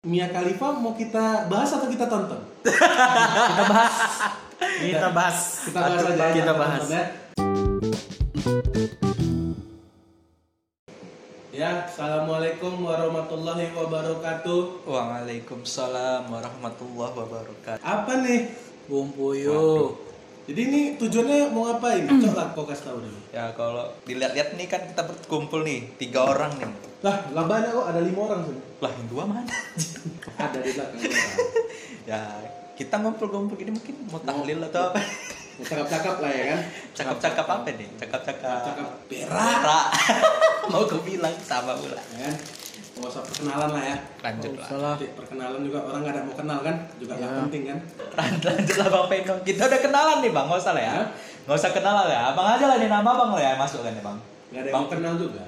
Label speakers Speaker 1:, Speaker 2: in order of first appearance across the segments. Speaker 1: Mia Khalifa mau kita bahas atau kita tonton?
Speaker 2: Kita bahas.
Speaker 1: Kita
Speaker 2: Kita bahas.
Speaker 1: Kita bahas aja. ya,
Speaker 2: Kita
Speaker 1: tonton
Speaker 2: bahas.
Speaker 1: ya. Ya, assalamualaikum warahmatullahi wabarakatuh.
Speaker 2: Waalaikumsalam warahmatullahi wabarakatuh.
Speaker 1: Apa nih?
Speaker 2: Bung Puyuh.
Speaker 1: Jadi ini tujuannya mau ngapain? Coba kau kasih tahu dulu.
Speaker 2: Ya kalau dilihat-lihat nih kan kita berkumpul nih tiga orang nih.
Speaker 1: Lah, lah banyak kok ada lima orang sini.
Speaker 2: Lah yang dua mana?
Speaker 1: Ada di belakang.
Speaker 2: ya kita ngumpul-ngumpul gini mungkin mau tahlil atau apa?
Speaker 1: Cakap-cakap lah ya kan.
Speaker 2: Cakap-cakap apa nih? Cakap-cakap.
Speaker 1: Cakap berak.
Speaker 2: Rara. Mau gue bilang sama pula.
Speaker 1: Ya kan? Gak usah perkenalan lah ya.
Speaker 2: Lanjut lah.
Speaker 3: Salah.
Speaker 1: Nanti perkenalan juga orang gak ada mau kenal kan? Juga nggak
Speaker 3: Ya.
Speaker 1: penting kan?
Speaker 2: Lan- Lanjutlah Bang Peno. Kita udah kenalan nih Bang, nggak usah lah ya.
Speaker 1: Hah?
Speaker 2: Nggak usah kenalan lah ya. Abang aja lah nih nama Bang lah ya masukkan ya Bang.
Speaker 1: Gak ada yang
Speaker 2: Bang.
Speaker 1: mau kenal juga.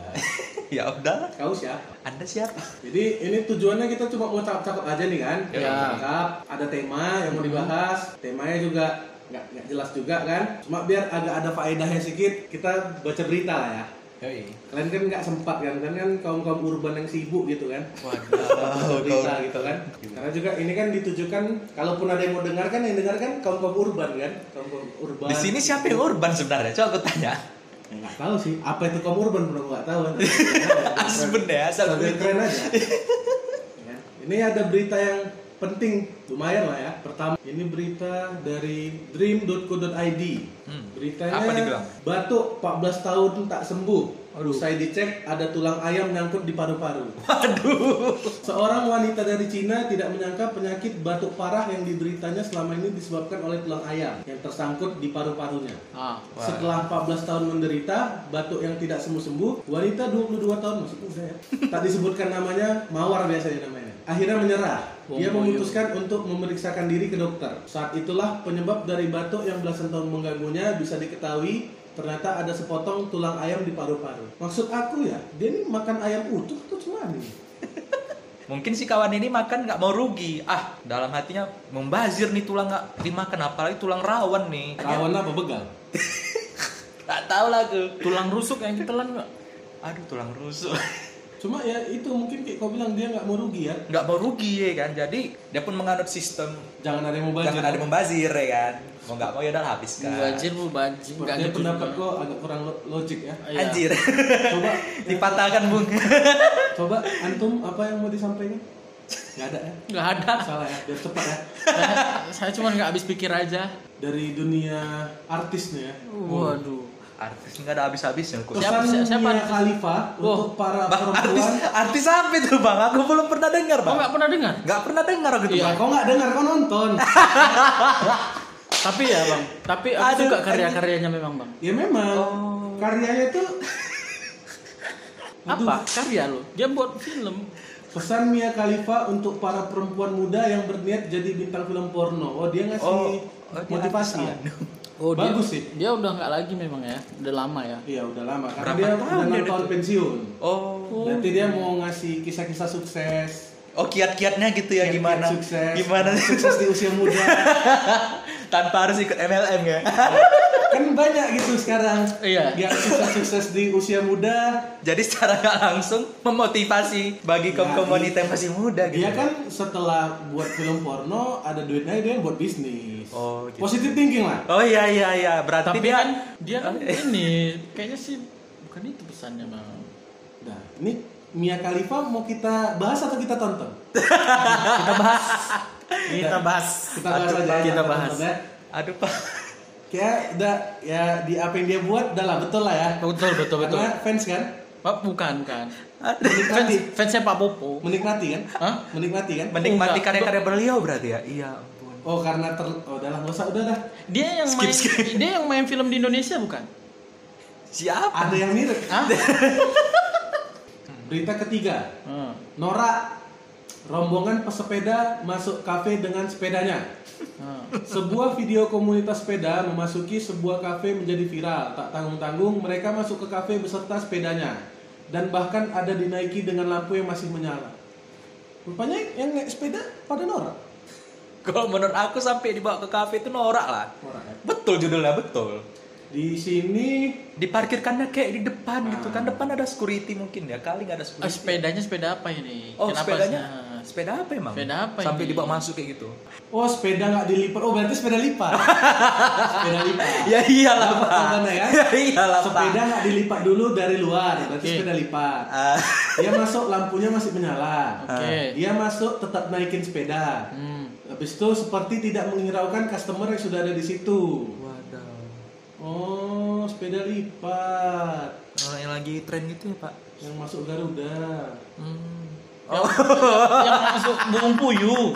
Speaker 2: ya udah.
Speaker 1: Kau siapa?
Speaker 2: Anda siapa?
Speaker 1: Jadi ini tujuannya kita cuma mau cakap-cakap aja nih kan?
Speaker 2: Ya.
Speaker 1: Cakap, ada tema
Speaker 2: Iya.
Speaker 1: yang mau dibahas. Temanya juga nggak nggak jelas juga kan? Cuma biar agak ada faedahnya sedikit, kita baca berita lah ya.
Speaker 2: Yoi.
Speaker 1: Kalian kan nggak sempat kan? Kalian kan kaum-kaum urban yang sibuk gitu kan?
Speaker 2: Waduh,
Speaker 1: berita gitu kan karena juga ini kan ditujukan kalaupun ada yang mau dengar kan yang dengar kan kaum kaum urban kan kaum kaum urban
Speaker 2: Di sini siapa yang urban sebenarnya? Coba aku tanya.
Speaker 1: Ya, nggak tahu sih apa itu kaum urban belum nggak tahu kan
Speaker 2: Asben deh, asal
Speaker 1: Sambil
Speaker 2: gue-
Speaker 1: keren aja Ya. ini ada berita yang penting lumayan lah ya pertama ini berita dari dream.co.id
Speaker 2: Hmm.
Speaker 1: beritanya
Speaker 2: Apa dibilang?
Speaker 1: batuk 14 tahun tak sembuh
Speaker 2: Aduh.
Speaker 1: usai dicek ada tulang ayam nyangkut di paru-paru
Speaker 2: Waduh.
Speaker 1: Seorang wanita dari Cina tidak menyangka penyakit batuk parah yang dideritanya selama ini disebabkan oleh tulang ayam yang tersangkut di paru-parunya.
Speaker 3: Ah,
Speaker 2: Wah.
Speaker 1: Setelah 14 tahun menderita batuk yang tidak sembuh-sembuh, wanita 22 tahun masuk usia ya. tak disebutkan namanya, mawar biasanya namanya. Akhirnya menyerah. Dia
Speaker 3: Wong Moyo.
Speaker 1: memutuskan untuk memeriksakan diri ke dokter. Saat itulah penyebab dari batuk yang belasan tahun mengganggunya bisa diketahui ternyata ada sepotong tulang ayam di paru-paru. Maksud aku ya, dia ini makan ayam utuh tuh cuman nih.
Speaker 2: Mungkin si kawan ini makan nggak mau rugi. Ah, dalam hatinya membazir nih tulang nggak dimakan apalagi tulang rawan nih.
Speaker 1: Rawan apa begal?
Speaker 2: Tak tahu lah aku.
Speaker 3: tulang rusuk yang ditelan nggak?
Speaker 2: Aduh, tulang rusuk.
Speaker 1: Cuma ya itu mungkin kayak kau bilang dia nggak mau rugi ya.
Speaker 2: Nggak mau rugi ya kan. Jadi dia pun menganut sistem
Speaker 1: Jangan ada yang mau baju.
Speaker 2: jangan ada membazir ya kan. Mau nggak mau ya udah habiskan.
Speaker 3: Banjir bu banjir nggak
Speaker 1: Dia
Speaker 3: gitu
Speaker 1: pendapat
Speaker 3: juga.
Speaker 1: kau agak kurang lo- logik ya.
Speaker 3: Iya.
Speaker 2: Anjir.
Speaker 1: Coba
Speaker 2: Dipatahkan, Bung.
Speaker 1: coba antum apa yang mau disampaikan? Nggak ada ya.
Speaker 3: nggak ada.
Speaker 1: Salah ya, biar cepat ya.
Speaker 3: Saya- Saya cuma nggak habis pikir aja.
Speaker 1: Dari dunia artisnya ya.
Speaker 3: Waduh.
Speaker 2: Artis nggak ada habis-habisnya kok.
Speaker 3: Siapa-
Speaker 1: Pesan
Speaker 3: siapa- siapa
Speaker 1: Mia
Speaker 3: artis?
Speaker 1: Khalifa
Speaker 3: Wow.
Speaker 1: untuk para
Speaker 2: Bang, artis,
Speaker 1: perempuan.
Speaker 2: artis apa itu bang? Aku belum pernah dengar
Speaker 3: Kau
Speaker 2: bang.
Speaker 3: nggak pernah dengar?
Speaker 2: Nggak pernah dengar gitu
Speaker 1: Ya,
Speaker 2: bang.
Speaker 1: kau nggak dengar, kau nonton.
Speaker 3: Tapi ya bang. Tapi aku
Speaker 2: Aduh,
Speaker 3: suka
Speaker 2: anjir.
Speaker 3: karya-karyanya memang bang.
Speaker 1: ya memang
Speaker 2: Oh.
Speaker 1: karyanya itu Aduh.
Speaker 3: Apa karya lo? Dia buat film.
Speaker 1: Pesan Mia Khalifa untuk para perempuan muda yang berniat jadi bintang film porno. Oh, dia ngasih
Speaker 2: Oh, oh, dia
Speaker 1: motivasi ya?
Speaker 3: Oh dia-
Speaker 1: Bagus sih.
Speaker 3: Dia udah nggak lagi memang ya. Udah lama ya.
Speaker 1: Iya, udah lama. Karena
Speaker 2: Berapa
Speaker 1: dia
Speaker 2: tahun
Speaker 1: udah
Speaker 2: dia
Speaker 1: enam
Speaker 2: udah
Speaker 1: tahun
Speaker 2: tuh?
Speaker 1: pensiun.
Speaker 2: Oh,
Speaker 1: Berarti dia
Speaker 3: iya.
Speaker 1: mau ngasih kisah-kisah sukses.
Speaker 2: oh kiat-kiatnya gitu ya
Speaker 1: kiat-kiat
Speaker 2: gimana?
Speaker 1: Sukses.
Speaker 2: Gimana
Speaker 1: Sukses di usia muda.
Speaker 2: tanpa harus ikut MLM ya?
Speaker 1: kan banyak gitu sekarang.
Speaker 3: Iya.
Speaker 1: Yang sukses-sukses di usia muda.
Speaker 2: Jadi secara nggak langsung memotivasi bagi kaum kaum
Speaker 1: Ya,
Speaker 2: wanita yang masih muda gitu.
Speaker 1: Dia kan setelah buat film porno ada duitnya dia buat bisnis.
Speaker 2: Oh, gitu.
Speaker 1: Positive thinking lah.
Speaker 2: Oh iya iya iya. Berarti
Speaker 3: Tapi
Speaker 2: dia
Speaker 3: kan dia kan ini kayaknya sih bukan itu pesannya bang.
Speaker 1: Nah, ini Mia Khalifa mau kita bahas atau kita tonton? Nah,
Speaker 3: Kita bahas. Kita bahas.
Speaker 1: Kita bahas
Speaker 3: Aduh,
Speaker 1: aja. ya,
Speaker 3: Kita
Speaker 1: tonton
Speaker 3: bahas.
Speaker 1: ya.
Speaker 2: Aduh pak.
Speaker 1: Kayak udah ya di apa yang dia buat udah lah betul lah ya.
Speaker 3: Betul betul betul.
Speaker 1: Karena fans kan
Speaker 3: Pak, bukan kan.
Speaker 1: menikmati,
Speaker 3: Fans, fansnya Pak Popo.
Speaker 1: menikmati kan?
Speaker 3: Hah?
Speaker 1: Menikmati kan?
Speaker 2: Menikmati
Speaker 3: Enggak.
Speaker 2: karya-karya beliau berarti ya? Iya. ampun.
Speaker 1: Oh karena ter, oh udah lah nggak usah udah dah.
Speaker 3: Dia yang
Speaker 2: Skip,
Speaker 3: main
Speaker 2: skip.
Speaker 3: dia yang main film di Indonesia bukan?
Speaker 2: Siapa?
Speaker 1: Ada yang mirip.
Speaker 3: Hah?
Speaker 1: Berita ketiga,
Speaker 3: Hmm.
Speaker 1: Nora rombongan pesepeda masuk kafe dengan sepedanya.
Speaker 3: Hmm.
Speaker 1: Sebuah video komunitas sepeda memasuki sebuah kafe menjadi viral. Tak tanggung-tanggung, mereka masuk ke kafe beserta sepedanya. Dan bahkan ada dinaiki dengan lampu yang masih menyala. Rupanya yang naik sepeda pada Nora.
Speaker 2: Kalau menurut aku sampai dibawa ke kafe itu norak lah.
Speaker 1: Nora ya.
Speaker 2: Betul judulnya betul.
Speaker 1: Di sini
Speaker 2: diparkirkannya kayak di depan gitu kan depan ada security mungkin ya kali nggak ada
Speaker 3: Oh,
Speaker 2: security
Speaker 3: sepedanya sepeda apa ini?
Speaker 2: oh sepedanya
Speaker 3: sih?
Speaker 2: Sepeda apa emang?
Speaker 3: Sepeda apa
Speaker 2: Sampai
Speaker 3: ini?
Speaker 2: dibawa masuk kayak gitu.
Speaker 1: Oh sepeda nggak dilipat. Oh berarti sepeda lipat. sepeda lipat.
Speaker 2: ya iyalah
Speaker 1: Dapat
Speaker 2: pak.
Speaker 1: jawabannya, ya?
Speaker 2: ya iyalah pak.
Speaker 1: Sepeda nggak dilipat dulu dari luar. Berarti
Speaker 3: Oke.
Speaker 1: sepeda lipat.
Speaker 2: Ah,
Speaker 1: Dia masuk lampunya masih menyala.
Speaker 3: Oke.
Speaker 1: Dia masuk tetap naikin sepeda.
Speaker 3: Hmm.
Speaker 1: Habis itu seperti tidak mengiraukan customer yang sudah ada di situ. Oh sepeda lipat
Speaker 2: Orang yang lagi tren gitu ya pak.
Speaker 1: yang masuk Garuda.
Speaker 2: Hmm.
Speaker 3: Oh. Yang masuk burung puyuh.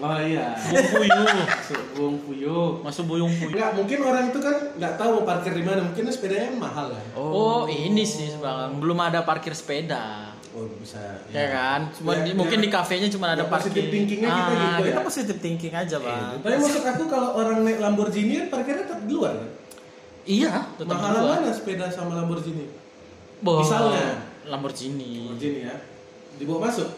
Speaker 1: Oh iya.
Speaker 3: Burung puyuh.
Speaker 1: Masuk Bung Puyo.
Speaker 3: Masuk burung puyuh.
Speaker 1: Enggak, mungkin orang itu kan nggak tahu mau parkir di mana. Mungkin sepedanya mahal ya.
Speaker 3: Oh, ini sih sebenarnya belum ada parkir sepeda.
Speaker 1: Oh bisa.
Speaker 3: Ya kan? Cuma
Speaker 1: Ya, ya.
Speaker 3: di- mungkin di kafenya cuma ada
Speaker 1: Ya,
Speaker 3: parkir.
Speaker 1: positive thinking-nya kita
Speaker 3: Ah,
Speaker 1: gitu ya.
Speaker 3: Kita positive thinking aja,
Speaker 2: Iya.
Speaker 3: Bang.
Speaker 1: Tapi maksud aku kalau orang naik Lamborghini kan parkirnya tetap di luar kan?
Speaker 3: Iya, tetap
Speaker 1: Mahal
Speaker 3: di luar.
Speaker 1: mana sepeda sama Lamborghini?
Speaker 3: Boh,
Speaker 1: Misalnya?
Speaker 3: Lamborghini.
Speaker 1: Lamborghini ya. Dibawa masuk.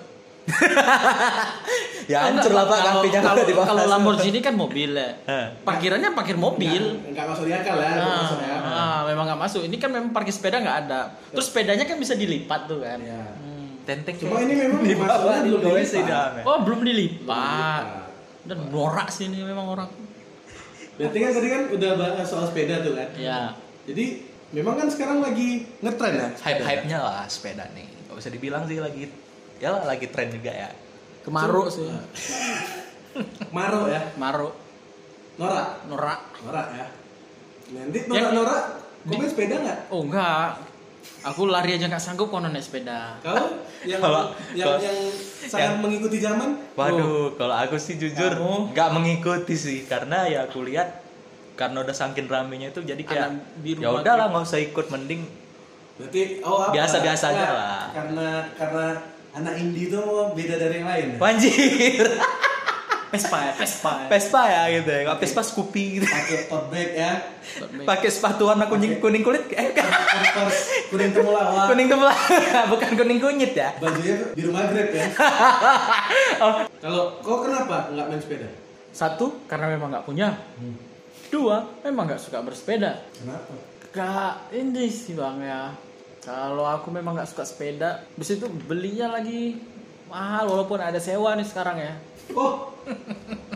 Speaker 2: Ya hancur lah pak
Speaker 3: Kalau-
Speaker 2: kampenya
Speaker 3: kalau-
Speaker 2: kalau dibahas.
Speaker 3: Kalau Lamborghini kan mobil ya.
Speaker 2: Eh.
Speaker 3: Parkirannya parkir mobil.
Speaker 1: Nggak, nggak masuk di akal ya. nggak
Speaker 3: Ah,
Speaker 1: masuk ya.
Speaker 3: ah, memang nggak masuk. Ini kan memang parkir sepeda nggak ada. Terus sepedanya kan bisa dilipat tuh kan.
Speaker 1: Ya.
Speaker 3: Hmm.
Speaker 2: Tenteng
Speaker 1: Cuma ini memang masalahnya belum
Speaker 2: dibawah
Speaker 1: dilipat.
Speaker 2: sedang, ya?
Speaker 3: Oh belum dilipat. Dan norak sih ini memang orang.
Speaker 1: Berarti kan tadi kan udah bahas soal sepeda tuh kan.
Speaker 3: Ya.
Speaker 1: Jadi memang kan sekarang lagi ngetren ya.
Speaker 2: hype hype nya Oh, lah sepeda nih nggak bisa dibilang sih lagi ya lah, lagi tren juga ya
Speaker 3: Kemaruk sih.
Speaker 1: Maro ya.
Speaker 3: Maruk.
Speaker 1: Norak.
Speaker 3: Norak.
Speaker 1: Norak ya. Nanti
Speaker 3: Ya.
Speaker 1: norak-norak komen sepeda nggak?
Speaker 3: Oh enggak. Aku lari aja nggak sanggup kalau naik sepeda.
Speaker 1: Kau yang
Speaker 2: Kalau-
Speaker 1: yang,
Speaker 2: kalau-
Speaker 1: yang sangat mengikuti zaman?
Speaker 2: waduh kalau aku sih jujur
Speaker 3: Kamu?
Speaker 2: nggak mengikuti sih karena ya aku lihat karena udah saking ramenya itu jadi kayak
Speaker 3: Anak biru
Speaker 2: ya udahlah nggak usah ikut mending
Speaker 1: Berarti oh apa?
Speaker 2: Biasa-biasa aja
Speaker 1: Nah,
Speaker 2: lah.
Speaker 1: Karena karena anak indie itu beda dari yang lain. ya?
Speaker 2: banjir
Speaker 3: Pespa ya, Pespa. ya.
Speaker 2: Vespa ya gitu ya nggak Vespa Scoopy gitu
Speaker 1: Pakai tote bag ya.
Speaker 2: pakai sepatu warna kuning
Speaker 1: Pakai-
Speaker 2: kuning kulit eh bukan.
Speaker 1: Converse kuning temulawak.
Speaker 2: kuning kemelah bukan kuning kunyit ya
Speaker 1: Bajunya biru maghrib ya.
Speaker 2: Oh.
Speaker 1: Kalau kau kenapa nggak main sepeda?
Speaker 3: Satu, karena memang nggak punya. Dua, memang nggak suka bersepeda.
Speaker 1: Kenapa?
Speaker 3: Kak, ini sih bang ya. Kalau aku memang nggak suka sepeda, bis itu belinya lagi mahal walaupun ada sewa nih sekarang ya.
Speaker 1: Oh,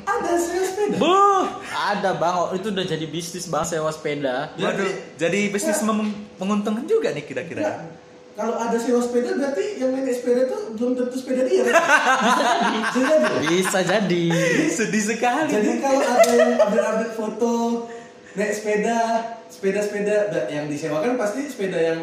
Speaker 1: ada serius sepeda.
Speaker 3: Buh, ada bang, oh, itu udah jadi bisnis bang sewa sepeda.
Speaker 2: waduh jadi bisnis mem- menguntungkan juga nih kira-kira ya.
Speaker 1: Nggak. Kalau ada sewa sepeda berarti yang main sepeda itu belum tentu sepeda dia. kan? Bisa jadi.
Speaker 3: Bisa jadi.
Speaker 2: sedih sekali
Speaker 1: Jadi kalau ada yang update-update foto naik sepeda, sepeda-sepeda da- yang disewakan pasti sepeda yang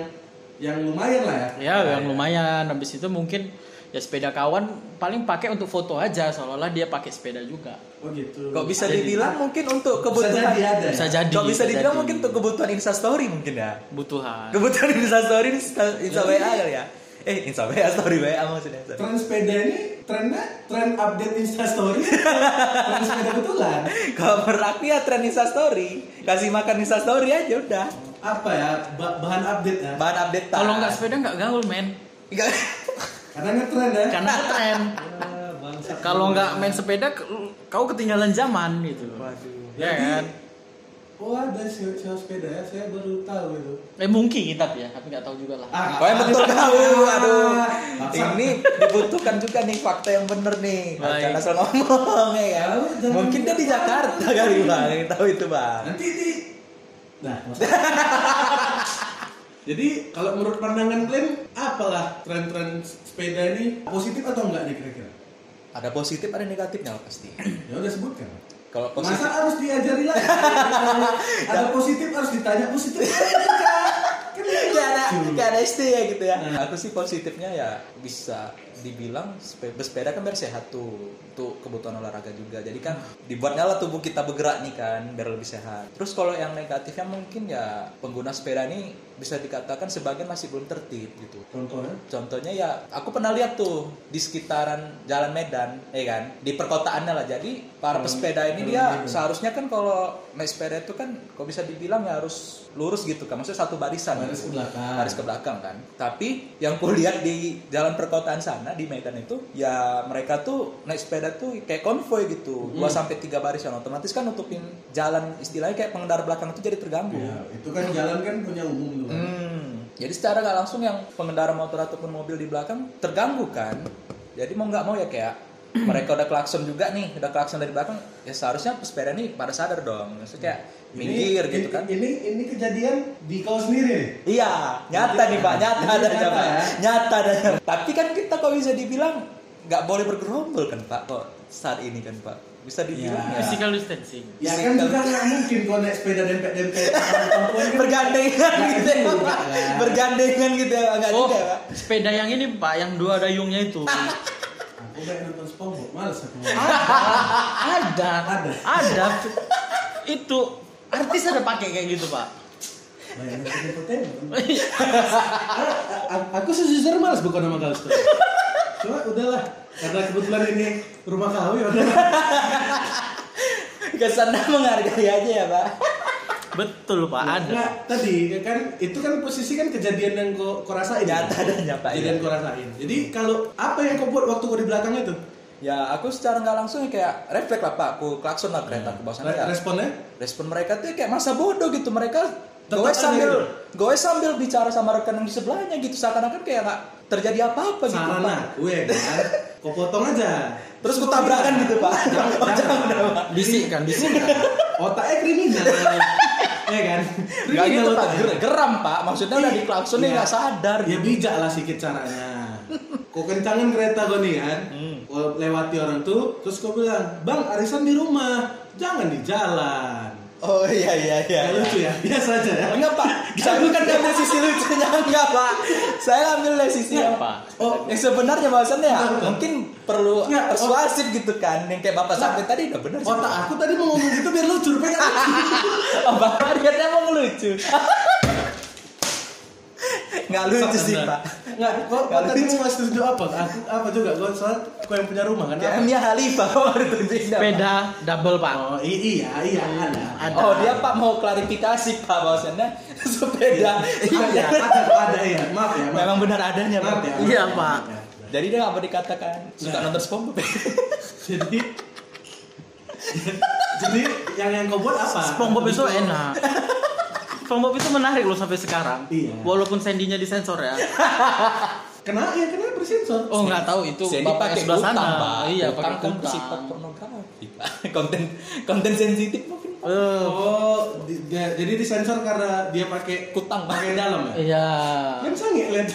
Speaker 1: yang lumayan lah ya.
Speaker 2: Iya.
Speaker 3: ya, yang lumayan. Habis itu mungkin ya sepeda kawan paling pakai untuk foto aja, seolah-olah dia pakai sepeda juga.
Speaker 1: Oh gitu.
Speaker 2: Kok bisa
Speaker 3: Ada di-
Speaker 2: dibilang mungkin untuk
Speaker 1: bisa
Speaker 2: kebutuhan
Speaker 1: jadi ada.
Speaker 3: Bisa
Speaker 1: ya?
Speaker 3: jadi.
Speaker 2: Kok bisa dibilang
Speaker 3: jadi.
Speaker 2: mungkin untuk kebutuhan instastory mungkin ya
Speaker 3: kebutuhan.
Speaker 2: Kebutuhan instastory, insta, insta WA kali ya Eh insta WA, story WA maksudnya sorry.
Speaker 1: Tren sepeda ini trennya tren update instastory, tren sepeda betulan.
Speaker 2: Kalau menurut aku ya tren instastory Kasih makan instastory aja udah
Speaker 1: Apa ya ba- bahan update ya?
Speaker 2: Bahan update
Speaker 3: Kalau nggak sepeda nggak gaul men.
Speaker 1: Karena ngetren ya.
Speaker 3: Karena tren.
Speaker 1: Ah, bangsat.
Speaker 3: Kalau nggak main sepeda, ke- kau ketinggalan zaman gitu. Ya kan?
Speaker 1: Oh ada sewa sewa sepeda ya, saya baru tahu itu.
Speaker 3: Eh mungkin tapi ya, tapi nggak tahu juga lah.
Speaker 2: Kau Ah, oh, yang betul tahu, aduh
Speaker 1: Maksa.
Speaker 2: Ini dibutuhkan juga nih fakta yang bener nih
Speaker 3: Baik.
Speaker 2: Jangan asal ngomong ya kan?
Speaker 1: Tahu, jangan
Speaker 2: Mungkin dia
Speaker 1: lupa.
Speaker 2: di Jakarta kali bang, yang tahu itu bang
Speaker 1: Nanti di Nah, maksudnya. Jadi kalau menurut pandangan kalian apalah tren-tren sepeda ini positif atau enggak nih kira-kira?
Speaker 2: Ada positif, ada negatifnya lah pasti
Speaker 1: Ya udah sebutkan.
Speaker 2: Kalau
Speaker 1: Masa
Speaker 2: positif
Speaker 1: harus diajari lagi? ada positif harus ditanya positif. Kan
Speaker 2: Gak Iya, ada,
Speaker 1: lucu.
Speaker 2: gak ada SD ya gitu ya. Aku sih positifnya ya bisa dibilang sepe- bersepeda kan biar sehat tuh untuk kebutuhan olahraga juga. Jadi kan dibuatnya lah tubuh kita bergerak nih kan biar lebih sehat. Terus kalau yang negatifnya mungkin ya pengguna sepeda ini bisa dikatakan sebagian masih belum tertib gitu.
Speaker 1: Contohnya?
Speaker 2: Contohnya ya, aku pernah lihat tuh di sekitaran Jalan Medan, ya kan, di perkotaannya lah. Jadi
Speaker 1: Hmm.
Speaker 2: para pesepeda ini dia
Speaker 1: gitu.
Speaker 2: seharusnya kan kalau naik sepeda itu kan, kok bisa dibilang ya harus lurus gitu kan, maksudnya satu barisan.
Speaker 1: Baris ke
Speaker 2: gitu.
Speaker 1: belakang.
Speaker 2: Baris ke belakang kan. Tapi yang kulihat di jalan perkotaan sana di Medan itu, ya mereka tuh naik sepeda tuh kayak konvoy gitu, dua
Speaker 1: Hmm.
Speaker 2: sampai tiga barisan. Otomatis kan nutupin jalan istilahnya kayak pengendara belakang itu jadi terganggu.
Speaker 1: Ya, itu kan jalan kan punya umum tuh. kan.
Speaker 2: Hmm. Jadi secara nggak langsung yang pengendara motor ataupun mobil di belakang terganggu kan. Jadi mau nggak mau ya kayak mereka udah klakson juga nih udah klakson dari belakang ya seharusnya pesepeda nih pada sadar dong maksudnya kayak minggir gitu kan
Speaker 4: Ini ini kejadian di kau sendiri nih.
Speaker 2: Iya, nyata nih Pak, nyata
Speaker 4: Ini
Speaker 2: ada
Speaker 4: nyata
Speaker 2: nyata,
Speaker 4: ya.
Speaker 2: nyata ada. Tapi kan kita kok bisa dibilang nggak boleh bergerombol kan Pak, kok saat ini kan Pak, bisa
Speaker 4: Iya.
Speaker 2: dibilang ya.
Speaker 3: physical distancing
Speaker 4: Ya
Speaker 2: Fisik
Speaker 4: kan
Speaker 2: kan.
Speaker 4: juga nggak mungkin kau naik sepeda dempet-dempet. Orang perempuan kan-
Speaker 2: bergandengan
Speaker 4: Nggak
Speaker 2: gitu ya
Speaker 4: juga,
Speaker 2: Pak,
Speaker 4: kan.
Speaker 2: bergandengan gitu ya Pak, nggak
Speaker 3: oh
Speaker 2: juga ya Pak.
Speaker 3: sepeda yang ini pak yang dua dayungnya itu
Speaker 4: Aku kayak nonton SpongeBob, males aku.
Speaker 3: ada
Speaker 4: Ada.
Speaker 3: ada itu artis ada pakai kayak gitu pak
Speaker 4: Bayangin aku dempet-dempet.
Speaker 2: Iya.
Speaker 4: Ah,
Speaker 1: A- aku sejujurnya malas bukan nama Galster.
Speaker 4: Cuma udahlah, karena kebetulan ini rumah kau ya udah.
Speaker 2: Kesana menghargai aja ya Pak.
Speaker 3: betul pak ada
Speaker 1: Nah, tadi kan itu kan posisi kan kejadian yang kau, kau rasain.
Speaker 2: Nyata dan nyata. iya.
Speaker 1: Kejadian kau rasain. Jadi kalau apa yang kau buat waktu kau di belakang itu?
Speaker 2: Ya aku secara nggak langsung ya kayak refleks lah Pak, aku klakson lah kereta aku bawa sana
Speaker 1: Re-
Speaker 2: ya.
Speaker 1: Responnya?
Speaker 2: respon mereka tuh kayak masa bodoh gitu mereka
Speaker 1: Tetap
Speaker 2: gue
Speaker 1: aja gitu.
Speaker 2: sambil gue sambil bicara sama rekan yang di sebelahnya gitu seakan-akan kayak nggak terjadi apa-apa gitu
Speaker 1: Sarana,
Speaker 2: pak
Speaker 1: gue kan. Kau potong aja.
Speaker 2: terus gue tabrakan gitu pak Oh, jangan, jangan, Pak.
Speaker 3: bisik kan bisik kan
Speaker 1: Otaknya kriminal. ya kan?
Speaker 2: nggak gitu pak
Speaker 1: otaknya.
Speaker 2: Ger- geram pak maksudnya udah diklaksonin
Speaker 1: Iya.
Speaker 2: nggak sadar gitu.
Speaker 1: Ya bijak lah sedikit caranya. Kau kencangin kereta kau nih kan,
Speaker 2: Hmm.
Speaker 1: kau lewati orang tuh, terus kau bilang, bang arisan di rumah, jangan di jalan.
Speaker 2: oh iya iya iya
Speaker 1: Ya, lucu ya, biasa aja ya.
Speaker 2: enggak pak saya bukan ngambil sisi lucunya enggak pak saya ambil dari sisi yang
Speaker 3: Pak.
Speaker 2: oh yang sebenarnya bahasannya ya
Speaker 1: Enggak, enggak.
Speaker 2: mungkin perlu
Speaker 1: Enggak, oh.
Speaker 2: persuasif gitu kan yang kayak bapak sampai tadi udah bener sih,
Speaker 1: Otak
Speaker 2: Pak.
Speaker 1: aku tadi mau ngomong gitu biar lucu, pengen lucu.
Speaker 2: Oh, Bapak lihatnya emang lucu. Nggak lucu sih, Pak.
Speaker 1: Nggak, kau, kau
Speaker 2: Nggak
Speaker 1: tadi
Speaker 2: lucu.
Speaker 1: mau ngasih tunjuk apa? Aku apa juga, kau soal kau yang punya rumah kan?
Speaker 2: Kayak Mia Khalifa baru tunjukin apa?
Speaker 3: sepeda double pak
Speaker 1: Oh i- iya iya ada.
Speaker 3: ada
Speaker 2: Oh, dia Pak mau klarifikasi, Pak, bahwasannya sepeda.
Speaker 1: Iya. Ada, ada, ada ya. Maaf ya, maaf.
Speaker 2: Iya, Memang benar adanya,
Speaker 1: Maaf
Speaker 2: Pak.
Speaker 1: ya.
Speaker 3: Iya,
Speaker 1: maaf ya,
Speaker 3: Pak.
Speaker 1: maaf ya.
Speaker 2: Jadi dia nggak mau dikatakan suka
Speaker 1: Nah.
Speaker 2: nonton SpongeBob.
Speaker 1: Jadi Jadi yang yang kau buat apa? Gitu.
Speaker 3: SpongeBob itu enak SpongeBob itu menarik loh sampai sekarang
Speaker 1: Iya.
Speaker 3: walaupun sandinya disensor ya
Speaker 1: Kena ya kena bersensor.
Speaker 3: oh nggak tahu itu
Speaker 2: Jadi
Speaker 3: bapak yang
Speaker 2: pakai
Speaker 3: sebelah
Speaker 2: utang,
Speaker 3: sana
Speaker 2: Pak.
Speaker 3: iya
Speaker 2: Utang
Speaker 3: pakai
Speaker 2: kan bersifat
Speaker 3: utang
Speaker 2: pornografi, Pak. Konten konten sensitif mungkin. Pak.
Speaker 3: Eh,
Speaker 1: Oh, di- dia- jadi disensor karena dia pakai
Speaker 2: Kutang, Pak.
Speaker 1: pakai dalam ya.
Speaker 3: iya
Speaker 1: Yang sange lihat.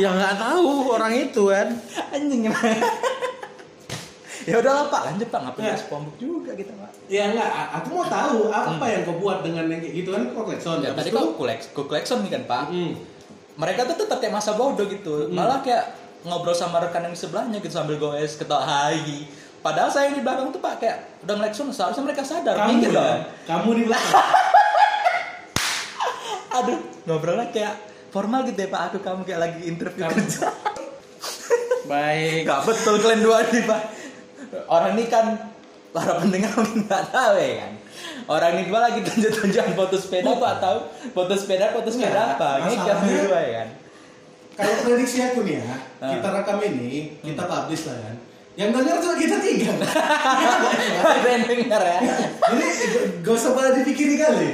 Speaker 3: ya nggak tahu orang itu kan
Speaker 2: Anjing emang. Ya udahlah, Pak. Lanjut, Pak. Ngapain
Speaker 1: Ya.
Speaker 2: bahas SpongeBob juga kita, Pak?
Speaker 1: Ya enggak, a- aku mau tahu apa yang kau buat dengan yang kayak gitu kan kau klakson.
Speaker 2: Hmm. Ya,
Speaker 1: Habis
Speaker 2: tadi
Speaker 1: itu-
Speaker 2: kok kuleks, kulekson nih kan, Pak.
Speaker 1: Hmm.
Speaker 2: mereka tuh tetap kayak masa bodoh gitu malah kayak ngobrol sama rekan yang di sebelahnya gitu sambil goes ketawa hai padahal saya yang di belakang tuh pak kayak udah ngelekson seharusnya mereka sadar
Speaker 1: Kamu
Speaker 2: minggir
Speaker 1: ya,
Speaker 2: dong
Speaker 1: kamu di belakang.
Speaker 2: aduh ngobrolnya kayak formal gitu ya pak aku kamu kayak lagi interview kerja
Speaker 3: baik
Speaker 2: nggak betul kalian dua nih pak orang ini kan para pendengar mungkin nggak tahu ya kan orang ini dua lagi tunjuk-tunjuk foto sepeda pak tahu foto sepeda foto
Speaker 1: Nggak,
Speaker 2: sepeda apa ini kamu
Speaker 1: masalahnya-
Speaker 2: dua ya kan
Speaker 1: Kalau prediksi aku nih ya,
Speaker 2: Ah. Hmm.
Speaker 1: kita rekam ini, kita publish lah kan. Yang denger cuma kita tiga. Iya,
Speaker 2: ada yang dengar ya
Speaker 1: Jadi g- gak usah pada dipikirin kali.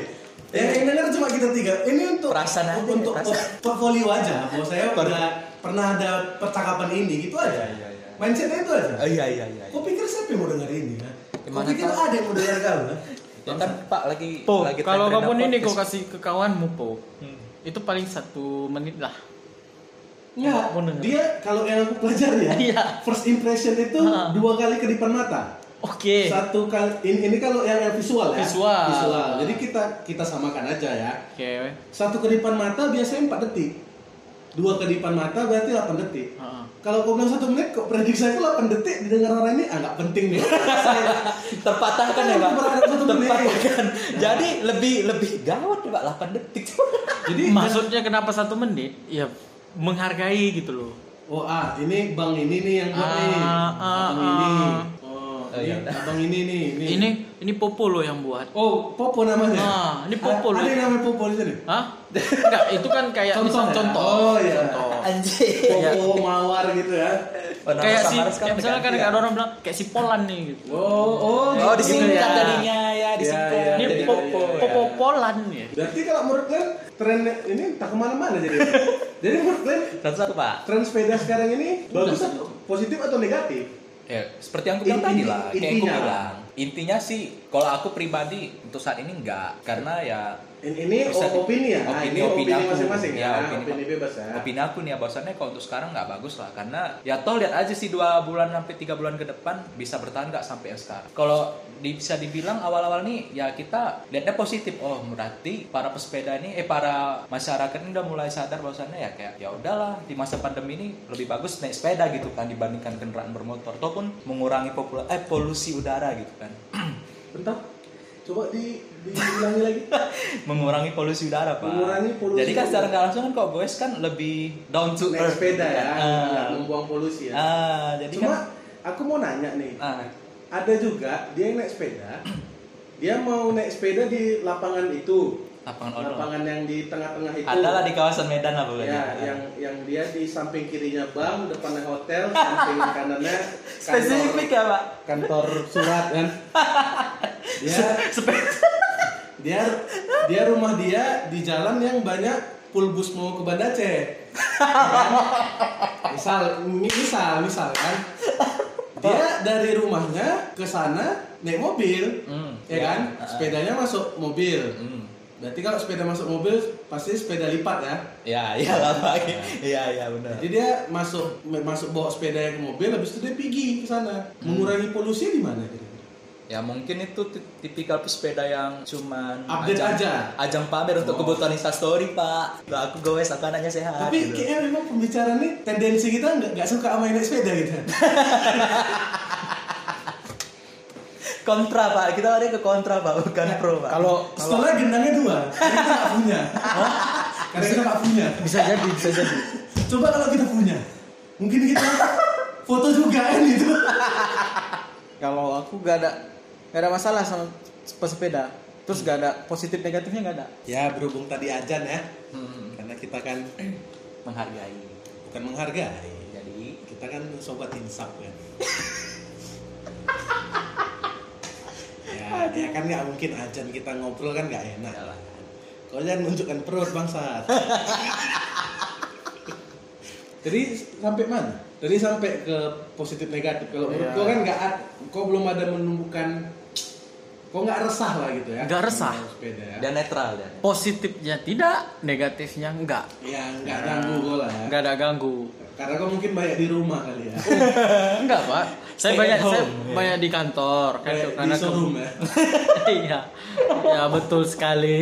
Speaker 1: Yang yang denger cuma kita tiga. Ini untuk
Speaker 2: Iya. Perasaan aja,
Speaker 1: untuk
Speaker 2: perasaan.
Speaker 1: portfolio aja. Bahwa saya
Speaker 2: Per-
Speaker 1: pernah pernah ada percakapan ini gitu aja.
Speaker 2: Iya, iya, iya.
Speaker 1: Mindsetnya itu aja.
Speaker 2: oh, iya iya iya iya.
Speaker 1: Kau pikir siapa yang mau denger ini? Ha? Kau
Speaker 2: Gimana
Speaker 1: pikir
Speaker 2: tahu?
Speaker 1: ada yang mau denger kau? ha?
Speaker 2: Ya kan Pak lagi
Speaker 3: po
Speaker 2: lagi
Speaker 3: kalau
Speaker 2: tren-tren
Speaker 3: kamu ini
Speaker 2: podcast.
Speaker 3: kau kasih ke kawanmu po
Speaker 2: Hmm.
Speaker 3: itu paling satu menit lah
Speaker 1: Enggak,
Speaker 3: Mau
Speaker 1: Iya.
Speaker 3: denger.
Speaker 1: dia kalau yang aku pelajari ya,
Speaker 3: Iya.
Speaker 1: first impression itu
Speaker 3: Ha.
Speaker 1: dua kali kedipan mata.
Speaker 3: oke
Speaker 1: Satu kali ini, ini kalau yang, yang visual ya.
Speaker 3: Visual.
Speaker 1: Visual. Jadi kita kita samakan aja ya.
Speaker 3: oke
Speaker 1: Satu kedipan mata biasanya 4 detik. Dua kedipan mata berarti 8 detik.
Speaker 3: Ha-ha.
Speaker 1: Kalau kau bilang satu menit, kok prediksi aku 8 detik didengar orang ini ah nggak penting nih.
Speaker 2: terpatahkan ya Pak.
Speaker 1: Berharap satu menit.
Speaker 2: Terpatahkan. Jadi lebih lebih gawat ya Pak 8 detik.
Speaker 1: Jadi
Speaker 3: maksudnya kenapa satu menit ya menghargai gitu loh
Speaker 1: oh ah ini bang ini nih yang buat
Speaker 3: Ah,
Speaker 1: nih.
Speaker 3: ah,
Speaker 1: Abang
Speaker 3: ah.
Speaker 1: ini. Oh,
Speaker 2: Oh,
Speaker 1: ini
Speaker 2: iya.
Speaker 1: abang ini nih. Ini.
Speaker 3: ini ini popo lo yang buat
Speaker 1: Oh, Popo namanya.
Speaker 3: Ah, ini Popo
Speaker 1: Ada,
Speaker 3: loh.
Speaker 1: ada yang namanya Popo di sini.
Speaker 3: Hah? Enggak, itu kan kayak
Speaker 1: Contoh
Speaker 3: misal
Speaker 1: ya?
Speaker 3: contoh.
Speaker 1: Oh, iya.
Speaker 3: Contoh.
Speaker 2: Anjing.
Speaker 1: Popo mawar gitu ya.
Speaker 2: Oh,
Speaker 3: Kayak si kayak misalnya kan ada orang bilang kayak si Polan nih gitu.
Speaker 1: Oh, oh.
Speaker 2: ya? Oh
Speaker 1: gitu
Speaker 2: disingkat
Speaker 1: ya.
Speaker 2: jadinya ya disingkat.
Speaker 1: iya,
Speaker 3: Ini
Speaker 1: iya,
Speaker 2: Jadi
Speaker 1: iya,
Speaker 3: popo,
Speaker 1: iya.
Speaker 3: popo Polan ya.
Speaker 1: Berarti kalau menurut kalian tren ini tak kemana-mana jadi. jadi menurut kalian
Speaker 2: Satu satu Pak.
Speaker 1: tren sepeda sekarang ini bagus atau positif atau negatif?
Speaker 2: Ya, seperti yang aku bilang
Speaker 1: Inti-
Speaker 2: tadi lah, kayak aku
Speaker 1: intinya.
Speaker 2: bilang. Intinya sih, kalau aku pribadi untuk saat ini enggak, karena ya
Speaker 1: Ini, ini
Speaker 2: Bisa-
Speaker 1: o- opini ya,
Speaker 2: opini-
Speaker 1: ini opini,
Speaker 2: opini aku.
Speaker 1: masing-masing ya,
Speaker 2: Ya,
Speaker 1: opini,
Speaker 2: opini-
Speaker 1: bebas ya.
Speaker 2: opini aku nih ya, bahwasannya kalau untuk sekarang nggak bagus lah, karena ya toh lihat aja sih dua bulan sampai tiga bulan ke depan bisa bertahan nggak sampai yang sekarang. Kalau di- bisa dibilang awal-awal nih ya kita lihatnya positif. Oh berarti para pesepeda ini, eh para masyarakat ini udah mulai sadar bahwasannya ya kayak ya udahlah di masa pandemi ini lebih bagus naik sepeda gitu kan dibandingkan kendaraan bermotor, ataupun mengurangi popula- eh, polusi udara gitu kan.
Speaker 1: Bentar, coba di, diulangi lagi.
Speaker 2: mengurangi polusi udara pak.
Speaker 1: Mengurangi polusi
Speaker 2: Jadi kan
Speaker 1: udara.
Speaker 2: secara nggak langsung kan kalau goes kan lebih down to
Speaker 1: Naik
Speaker 2: earth.
Speaker 1: sepeda ya,
Speaker 2: kan?
Speaker 1: nggak
Speaker 2: Ah.
Speaker 1: membuang polusi ya.
Speaker 2: Ah, jadi kan.
Speaker 1: Cuma aku mau nanya nih,
Speaker 2: Ah,
Speaker 1: ada juga dia yang naik sepeda, dia mau naik sepeda di lapangan itu,
Speaker 2: lapangan outdoor.
Speaker 1: lapangan yang di tengah-tengah itu.
Speaker 2: Adalah di kawasan Medan lah pokoknya.
Speaker 1: Ya, yang yang dia di samping kirinya bank, depannya hotel, samping kanannya
Speaker 2: spesifik ya pak.
Speaker 1: kantor surat kan. Dia
Speaker 2: Spesifik.
Speaker 1: dia dia rumah dia di jalan yang banyak pulbus mau ke Banda Aceh. Ya. misal ini misal misal kan. Dia dari rumahnya ke sana naik mobil,
Speaker 2: Hmm,
Speaker 1: ya
Speaker 2: ya.
Speaker 1: kan?
Speaker 2: Ah.
Speaker 1: Sepedanya masuk mobil.
Speaker 2: Hmm.
Speaker 1: Berarti kalau sepeda masuk mobil pasti sepeda lipat ya.
Speaker 2: Ya, iya lah pak. Iya, iya benar.
Speaker 1: Jadi dia masuk masuk bawa sepeda ke mobil, habis itu dia pergi ke sana.
Speaker 2: Hmm.
Speaker 1: Mengurangi polusi di mana kira-kira?
Speaker 2: Ya mungkin itu ti- tipikal pesepeda yang cuman
Speaker 1: Update
Speaker 2: ajang,
Speaker 1: aja. Oh.
Speaker 2: ajang pamer untuk kebutuhan instastory pak. Lah aku goes aku anaknya sehat.
Speaker 1: Tapi
Speaker 2: gitu.
Speaker 1: kayaknya memang pembicaraan nih tendensi kita nggak nggak suka sama yang naik sepeda gitu.
Speaker 2: kontra pak, kita lari ke kontra pak, bukan pro pak.
Speaker 1: Ya,
Speaker 3: Kalau
Speaker 1: Setelah gendangnya dua, karena kita nggak punya. karena kita nggak punya.
Speaker 3: bisa jadi, bisa jadi.
Speaker 1: Coba kalau kita punya, mungkin kita foto juga kan gitu.
Speaker 3: Kalau aku gak ada gak ada masalah sama pesepeda. Terus gak ada positif negatifnya gak ada.
Speaker 1: Ya berhubung tadi ajan ya,
Speaker 2: Hmm,
Speaker 1: karena kita kan
Speaker 2: menghargai.
Speaker 1: bukan menghargai,
Speaker 2: Jadi
Speaker 1: kita kan sobat insaf kan. ya, ya kan nggak mungkin ajan kita ngobrol kan nggak enak.
Speaker 2: Iyalah.
Speaker 1: Kau jangan nunjukkan perut bangsa. Jadi sampai mana? Jadi sampai ke positif negatif. Kalau menurut
Speaker 3: Iya.
Speaker 1: kau kan nggak, ad- kau belum ada menumbuhkan, kau nggak resah lah gitu ya?
Speaker 3: Nggak resah.
Speaker 1: Dengan Sepeda ya.
Speaker 2: dan netral dan.
Speaker 3: Positifnya tidak, negatifnya enggak.
Speaker 1: Ya nggak ganggu kau lah. ya.
Speaker 3: Gak ada ganggu.
Speaker 1: Karena kau mungkin banyak di rumah kali ya.
Speaker 3: Oh, Enggak, Pak. Saya
Speaker 2: Stay
Speaker 3: banyak
Speaker 2: at home,
Speaker 3: saya
Speaker 2: ya.
Speaker 3: banyak di kantor kan
Speaker 1: iya. Kayak di
Speaker 3: karena aku-
Speaker 1: showroom ya.
Speaker 3: Iya. Ya betul sekali.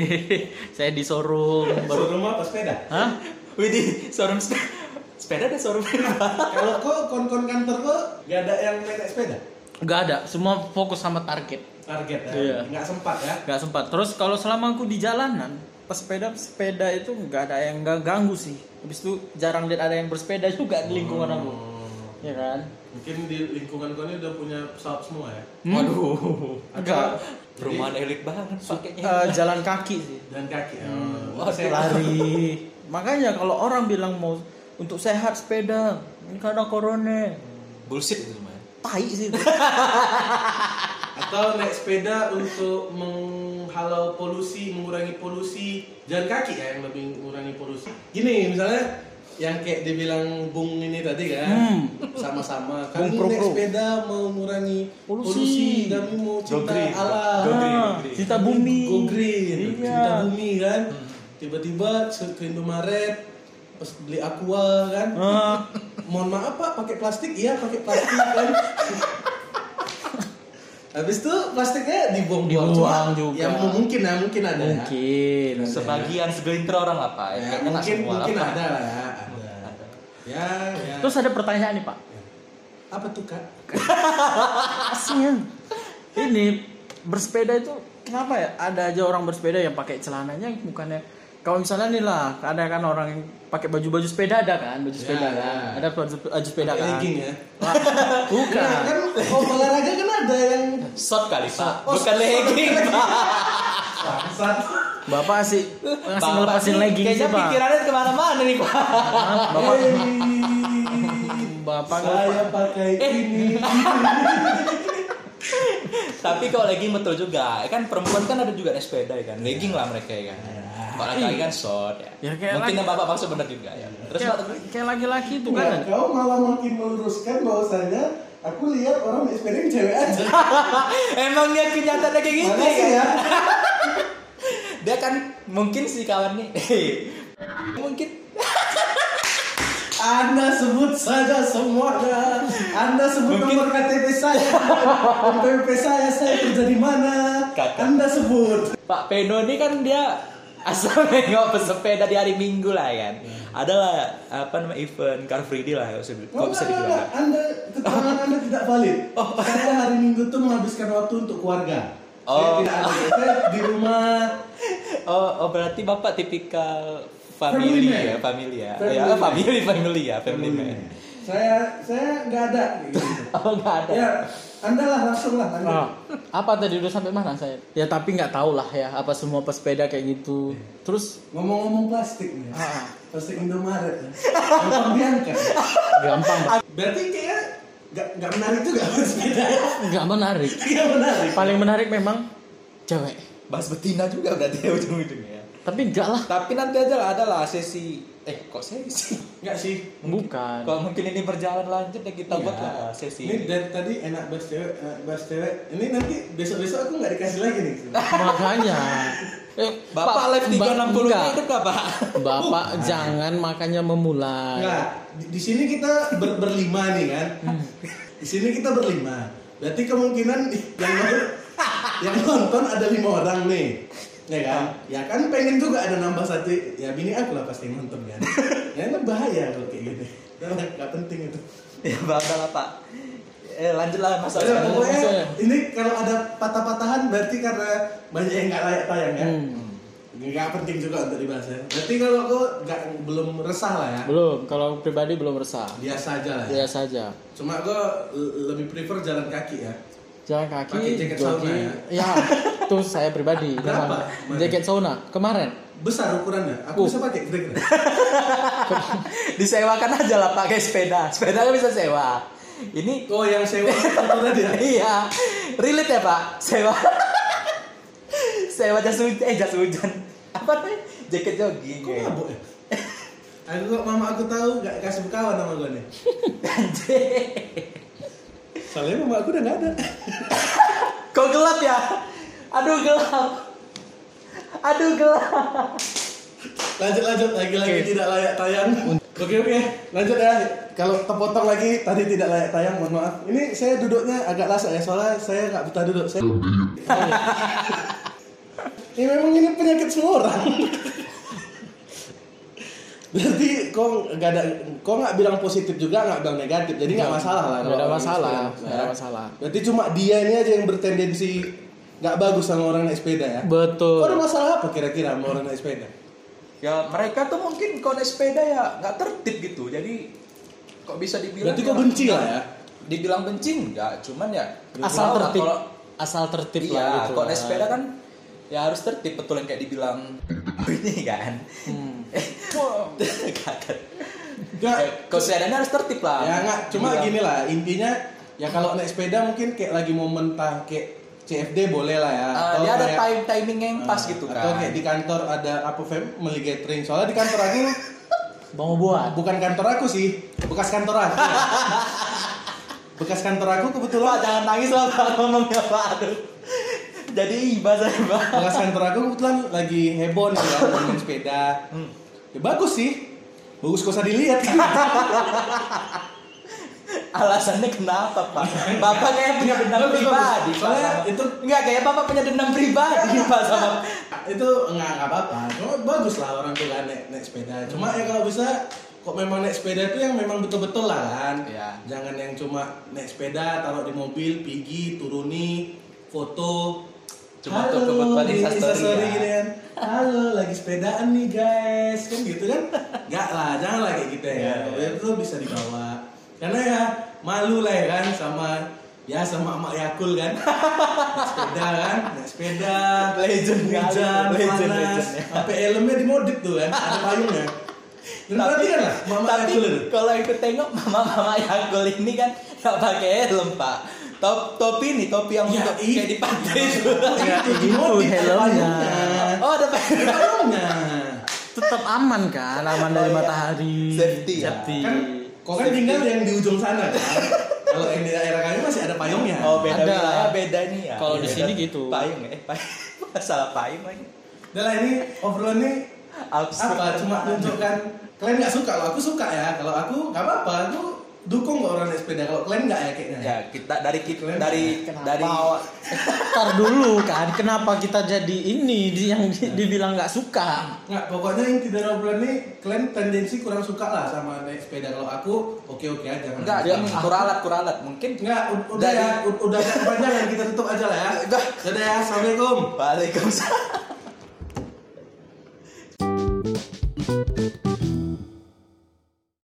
Speaker 3: saya di showroom baru.
Speaker 1: Showroom apa sepeda?
Speaker 3: Hah?
Speaker 2: Widih, showroom sepeda. Sepeda ada showroom Pak.
Speaker 1: Kalau kau kon-kon kantor kau nggak ada yang naik sepeda?
Speaker 3: Enggak ada, semua fokus sama target.
Speaker 1: Target ya?
Speaker 3: Iya.
Speaker 1: Nggak sempat ya?
Speaker 3: Enggak sempat. Terus kalau selama aku di jalanan, pesepeda sepeda itu enggak ada yang gak ganggu sih. Habis itu jarang lihat ada yang bersepeda juga di lingkungan aku.
Speaker 1: Oh.
Speaker 3: Iya kan?
Speaker 1: Mungkin di lingkungan kau ini udah punya pesawat semua ya?
Speaker 3: Waduh. Enggak.
Speaker 2: Perumahan elit banget pakainya.
Speaker 3: Eh, jalan kaki sih.
Speaker 1: dan kaki. ya?
Speaker 2: Wah,
Speaker 1: Saya-
Speaker 3: lari makanya kalau orang bilang mau untuk sehat sepeda ini karena corona
Speaker 2: Bullshit itu semuanya.
Speaker 3: tai sih
Speaker 1: Atau naik sepeda untuk menghalau polusi, mengurangi polusi. Jalan kaki ya yang lebih mengurangi polusi. Gini misalnya yang kayak dibilang Bung ini tadi kan
Speaker 3: Hmm.
Speaker 1: sama-sama
Speaker 3: Bung
Speaker 1: kami
Speaker 3: Pro
Speaker 1: naik
Speaker 3: Pro.
Speaker 1: sepeda mau mengurangi
Speaker 3: Polusi.
Speaker 1: polusi, kami mau cinta
Speaker 2: green.
Speaker 1: alam
Speaker 2: Go green,
Speaker 3: Ah,
Speaker 2: go green.
Speaker 3: cinta bumi
Speaker 1: go green
Speaker 3: Iya.
Speaker 1: cinta bumi kan tiba-tiba ke Indomaret pas beli aqua kan
Speaker 3: Ah,
Speaker 1: mohon maaf pak pakai plastik iya pakai plastik kan habis itu plastiknya dibuang
Speaker 3: Dibuang juga.
Speaker 1: ya mu- mungkin ya mungkin ada ya.
Speaker 3: mungkin
Speaker 2: Sebagian segelintir orang lah Pak.
Speaker 1: ya,
Speaker 2: Kayaknya nggak
Speaker 1: mungkin
Speaker 2: semua lah,
Speaker 1: mungkin
Speaker 2: Pak.
Speaker 1: ada lah ya ada ya ya
Speaker 3: kan? terus ada pertanyaan nih pak
Speaker 1: apa tuh kak
Speaker 3: asin ini bersepeda itu kenapa ya ada aja orang bersepeda yang pakai celananya bukannya kalau misalnya nih lah ada kan orang yang pakai baju-baju sepeda ada kan baju sepeda
Speaker 1: ya.
Speaker 3: kan ada baju, baju sepeda
Speaker 1: Pakai
Speaker 3: kan
Speaker 1: legging ya
Speaker 3: bukan
Speaker 1: Nah, kan oh, olahraga kan ada yang
Speaker 2: Shot kali Pak. Bukan legging Pak.
Speaker 1: bangsat
Speaker 3: bapak sih ngasih
Speaker 2: Bapak
Speaker 3: ngelepasin
Speaker 2: nih
Speaker 3: legging sih
Speaker 2: Kayaknya
Speaker 3: pak
Speaker 2: pikirannya kemana-mana nih Pak.
Speaker 3: Hah? bapak
Speaker 1: Hei,
Speaker 3: Bapak Eh,
Speaker 1: saya pakai ini
Speaker 2: Tapi kalau legging betul juga. Ya kan perempuan kan ada juga naik sepeda ya kan. Legging lah mereka ya kan. Kalau laki-laki kan short ya.
Speaker 3: Ya, kayak
Speaker 2: Mungkin
Speaker 3: laki-
Speaker 2: yang bapak bangsa benar juga ya. Terus
Speaker 3: kayak, kayak laki-laki itu kan ada.
Speaker 1: Iya, kau malah makin meluruskan bahwasanya aku lihat orang di SPD cewek aja.
Speaker 2: emangnya kenyataannya kayak gitu
Speaker 1: Mana sih ya?
Speaker 2: Dia kan mungkin si kawan nih. mungkin
Speaker 1: Anda sebut saja semuanya. Anda sebut nomor KTP saya, KTP saya, saya kerja di mana.
Speaker 2: Kakak.
Speaker 1: Anda sebut.
Speaker 2: Pak Peno ini kan dia asal nengok pesepeda di hari Minggu lah kan. Adalah apa nama event Car Free Day lah ya, bisa-
Speaker 1: Oh, Enggak,
Speaker 2: kok bisa
Speaker 1: enggak,
Speaker 2: dibilang. Oh.
Speaker 1: enggak. Anda keterangan Anda tidak valid. Saya hari Minggu tuh menghabiskan waktu untuk keluarga. Saya
Speaker 2: Oh.
Speaker 1: tidak ada. Saya di rumah.
Speaker 2: Oh, oh berarti bapak tipikal
Speaker 1: Family
Speaker 2: family
Speaker 1: man.
Speaker 2: ya, family ya.
Speaker 1: Family
Speaker 2: Ya,
Speaker 1: man.
Speaker 2: family, family ya, family man.
Speaker 1: Saya saya nggak ada. gitu.
Speaker 2: Oh, enggak ada.
Speaker 1: ya, Anda lah langsung lah. Anda.
Speaker 3: Ah, apa tadi udah sampai mana saya? Ya tapi nggak tahu lah ya apa semua pesepeda kayak gitu. Terus
Speaker 1: Ngomong-ngomong plastik nih.
Speaker 3: Ah.
Speaker 1: Plastik Indomaret. ya. Gampang diangkat.
Speaker 3: gampang,
Speaker 1: Berarti kayaknya nggak nggak menarik juga bersepeda. ya.
Speaker 3: nggak menarik.
Speaker 1: Nggak menarik.
Speaker 3: Paling menarik memang cewek.
Speaker 2: Bahas betina juga berarti ya ujung-ujungnya.
Speaker 3: Tapi enggak lah,
Speaker 2: Tapi nanti aja lah ada lah sesi eh kok sesi?
Speaker 1: Nggak sih.
Speaker 3: bukan.
Speaker 2: Kalau mungkin ini berjalan lanjut ya kita buat lah sesi.
Speaker 1: Iya. Ini dari tadi enak bahas cewek, enak bahas cewek. Ini nanti besok-besok aku nggak dikasih lagi nih.
Speaker 3: Ah. Makanya. Eh,
Speaker 2: Bapak live 360
Speaker 3: enggak.
Speaker 2: nya hidup gak, Pak?
Speaker 3: Bapak jangan makanya memulai.
Speaker 1: Nggak. Nah, Di, di sini kita ber- berlima nih kan. Di sini kita berlima. Berarti kemungkinan yang nonton, yang nonton ada lima orang nih. Ya kan? Ya kan pengen juga ada nambah satu. Ya bini aku lah pasti yang nonton kan. Ya itu bahaya kalau kayak gitu. Gak penting itu.
Speaker 2: Ya bakal lah, Pak. Eh lanjutlah Mas.
Speaker 1: Udah,
Speaker 2: Alvin.
Speaker 1: Ya, pokoknya
Speaker 3: maksudnya.
Speaker 1: ini kalau ada patah-patahan berarti karena banyak yang nggak layak tayang ya. Nggak penting juga untuk dibahas ya. Berarti kalau aku nggak belum resah lah ya.
Speaker 3: Belum, kalau pribadi belum resah.
Speaker 1: Biasa aja lah. Ya.
Speaker 3: Biasa saja.
Speaker 1: Cuma aku l- lebih prefer jalan kaki ya.
Speaker 3: Jalan
Speaker 1: Pakai
Speaker 3: kaki,
Speaker 1: jaket
Speaker 3: jogging. Ya, itu saya pribadi.
Speaker 1: Berapa?
Speaker 3: memang. Jaket sauna kemarin.
Speaker 1: Besar ukurannya. Aku
Speaker 3: Uh.
Speaker 1: bisa pakai kira-kira.
Speaker 2: Disewakan aja lah pakai sepeda. Sepedanya bisa sewa. Ini
Speaker 1: Oh yang sewa satu tadi ya.
Speaker 2: iya, relate ya Pak. Sewa, sewa jas hujan, eh jas hujan. Apa tuh? Jaket jogging.
Speaker 1: Kok
Speaker 2: ya.
Speaker 1: mabuk ya? Aku kok mama aku tahu nggak kasih kawan sama gue nih. Soalnya mama aku udah nggak ada.
Speaker 2: Kok gelap ya? Aduh gelap. Aduh gelap.
Speaker 1: lanjut lanjut lagi lagi
Speaker 3: Oke.
Speaker 1: tidak layak tayang oke oke lanjut ya kalau terpotong lagi tadi tidak layak tayang mohon maaf ini saya duduknya agak lasak ya soalnya saya nggak betah duduk saya Iya. ini memang ini penyakit semua orang berarti kok nggak ada kok nggak bilang positif juga nggak bilang negatif jadi nggak masalah lah
Speaker 3: Nggak ada
Speaker 1: kalau orang
Speaker 3: masalah,
Speaker 1: naik sepeda.
Speaker 3: nggak ada masalah.
Speaker 1: berarti cuma dia ini aja yang bertendensi nggak bagus sama orang naik sepeda ya Kok ada
Speaker 3: Betul.
Speaker 1: masalah apa kira-kira sama orang naik sepeda?
Speaker 2: Ya mereka tuh mungkin kalau naik sepeda ya nggak tertib gitu. Jadi kok bisa dibilang?
Speaker 1: Berarti kok
Speaker 2: ya-
Speaker 1: benci lah ya?
Speaker 2: Dibilang benci nggak? Cuman ya
Speaker 3: Asal
Speaker 2: kurang lah
Speaker 3: tertib.
Speaker 2: kalau-
Speaker 3: Asal tertib
Speaker 2: iya,
Speaker 3: lah gitu.
Speaker 2: kalau naik sepeda kan ya harus tertib betul yang kayak dibilang ini kan. Kaget.
Speaker 1: Nggak.
Speaker 2: Eh, Kalau sepedanya harus tertib lah. Iya.
Speaker 1: Ya nggak, cuma
Speaker 2: Dibilang-
Speaker 1: gini lah intinya ya kalau naik sepeda mungkin kayak lagi momen tah kayak CFD boleh lah ya.
Speaker 2: Ah,
Speaker 1: Atau
Speaker 2: dia ada
Speaker 1: kayak-
Speaker 2: time timing yang pas
Speaker 1: Ah,
Speaker 2: gitu kan.
Speaker 1: Atau kayak di kantor ada apa family gathering. Soalnya di kantor aku
Speaker 3: Bang buat.
Speaker 1: bukan kantor aku sih, bekas kantor aku. bekas kantor aku
Speaker 2: Pak
Speaker 1: kebetulan
Speaker 2: jangan nangis lah Pak ngomongnya Pak aduh. Jadi iba saya Pak.
Speaker 1: bekas kantor aku kebetulan lagi heboh nih ya main sepeda.
Speaker 2: Hmm.
Speaker 1: Ya bagus sih. Bagus kok usah dilihat.
Speaker 2: Iya, Alasannya kenapa Pak? Bapak kayak punya dendam
Speaker 1: Bagus, bagus.
Speaker 2: pribadi. Pak,
Speaker 1: Soalnya
Speaker 2: sama-
Speaker 1: itu-
Speaker 2: enggak kayak Bapak punya dendam pribadi Pak sama
Speaker 1: itu nggak nggak apa-apa cuma bagus lah orang tuh kan naik, naik sepeda cuma ya kalau bisa kok memang naik sepeda itu yang memang betul-betul lah kan
Speaker 2: Iya.
Speaker 1: jangan yang cuma naik sepeda taruh di mobil pergi turuni foto
Speaker 2: Cuma untuk kebutuhan
Speaker 1: di
Speaker 2: Instastory,
Speaker 1: Instastory
Speaker 2: ya.
Speaker 1: gitu kan halo lagi sepedaan nih guys kan gitu kan nggak lah jangan lah kayak gitu ya
Speaker 2: Iya,
Speaker 1: Kalau itu bisa dibawa karena ya malu lah ya kan sama ya sama emak yakul kan naik sepeda kan naik sepeda
Speaker 2: Legend kali.
Speaker 1: hujan
Speaker 2: Legend,
Speaker 1: panas
Speaker 2: legend, ya.
Speaker 1: sampai helmnya dimodif tuh kan ada ya. payungnya Dan perhatikan lah, mama
Speaker 2: tapi ya,
Speaker 1: Yakul itu.
Speaker 2: kalau ikut tengok mama-mama Yakul ini kan nggak pakai helm pak. Top topi nih topi yang untuk kayak di pantai itu.
Speaker 1: Ya, Iya,
Speaker 3: gitu, helmnya.
Speaker 2: Oh ada pakai.
Speaker 1: Helmnya.
Speaker 3: Tetap aman kan, aman dari matahari.
Speaker 2: Iya. Safety ya.
Speaker 3: Safety.
Speaker 1: Kan kok kan tinggal yang di ujung sana kan. Kalau yang di daerah kami masih ada payungnya.
Speaker 2: Oh beda
Speaker 3: Ada.
Speaker 2: wilayah beda nih ya.
Speaker 3: Kalau di
Speaker 2: Beda.
Speaker 3: sini gitu.
Speaker 2: Payung eh payung. Salah payung lagi.
Speaker 1: Udah lah ini overall ini
Speaker 2: Absurd.
Speaker 1: apa cuma tunjukkan kalian nggak suka kalau aku suka ya kalau aku nggak apa-apa aku dukung kok orang naik sepeda kalau kalian nggak ya kayaknya ya.
Speaker 2: Ya kita dari kita
Speaker 1: Keren.
Speaker 2: dari
Speaker 3: Kenapa?
Speaker 2: dari
Speaker 3: Ntar dulu kan, kenapa kita jadi ini di- yang di- dibilang nggak suka?
Speaker 1: nggak pokoknya inti dari obrolan ini kalian tendensi kurang suka lah sama naik sepeda kalau aku oke oke aja
Speaker 2: enggak dia kuralat kuralat mungkin
Speaker 1: nggak u- udah
Speaker 2: Dari-
Speaker 1: ya u- udah kepanjangan kita tutup aja lah ya
Speaker 2: Udah.
Speaker 1: udah ya assalamualaikum
Speaker 2: Waalaikumsalam.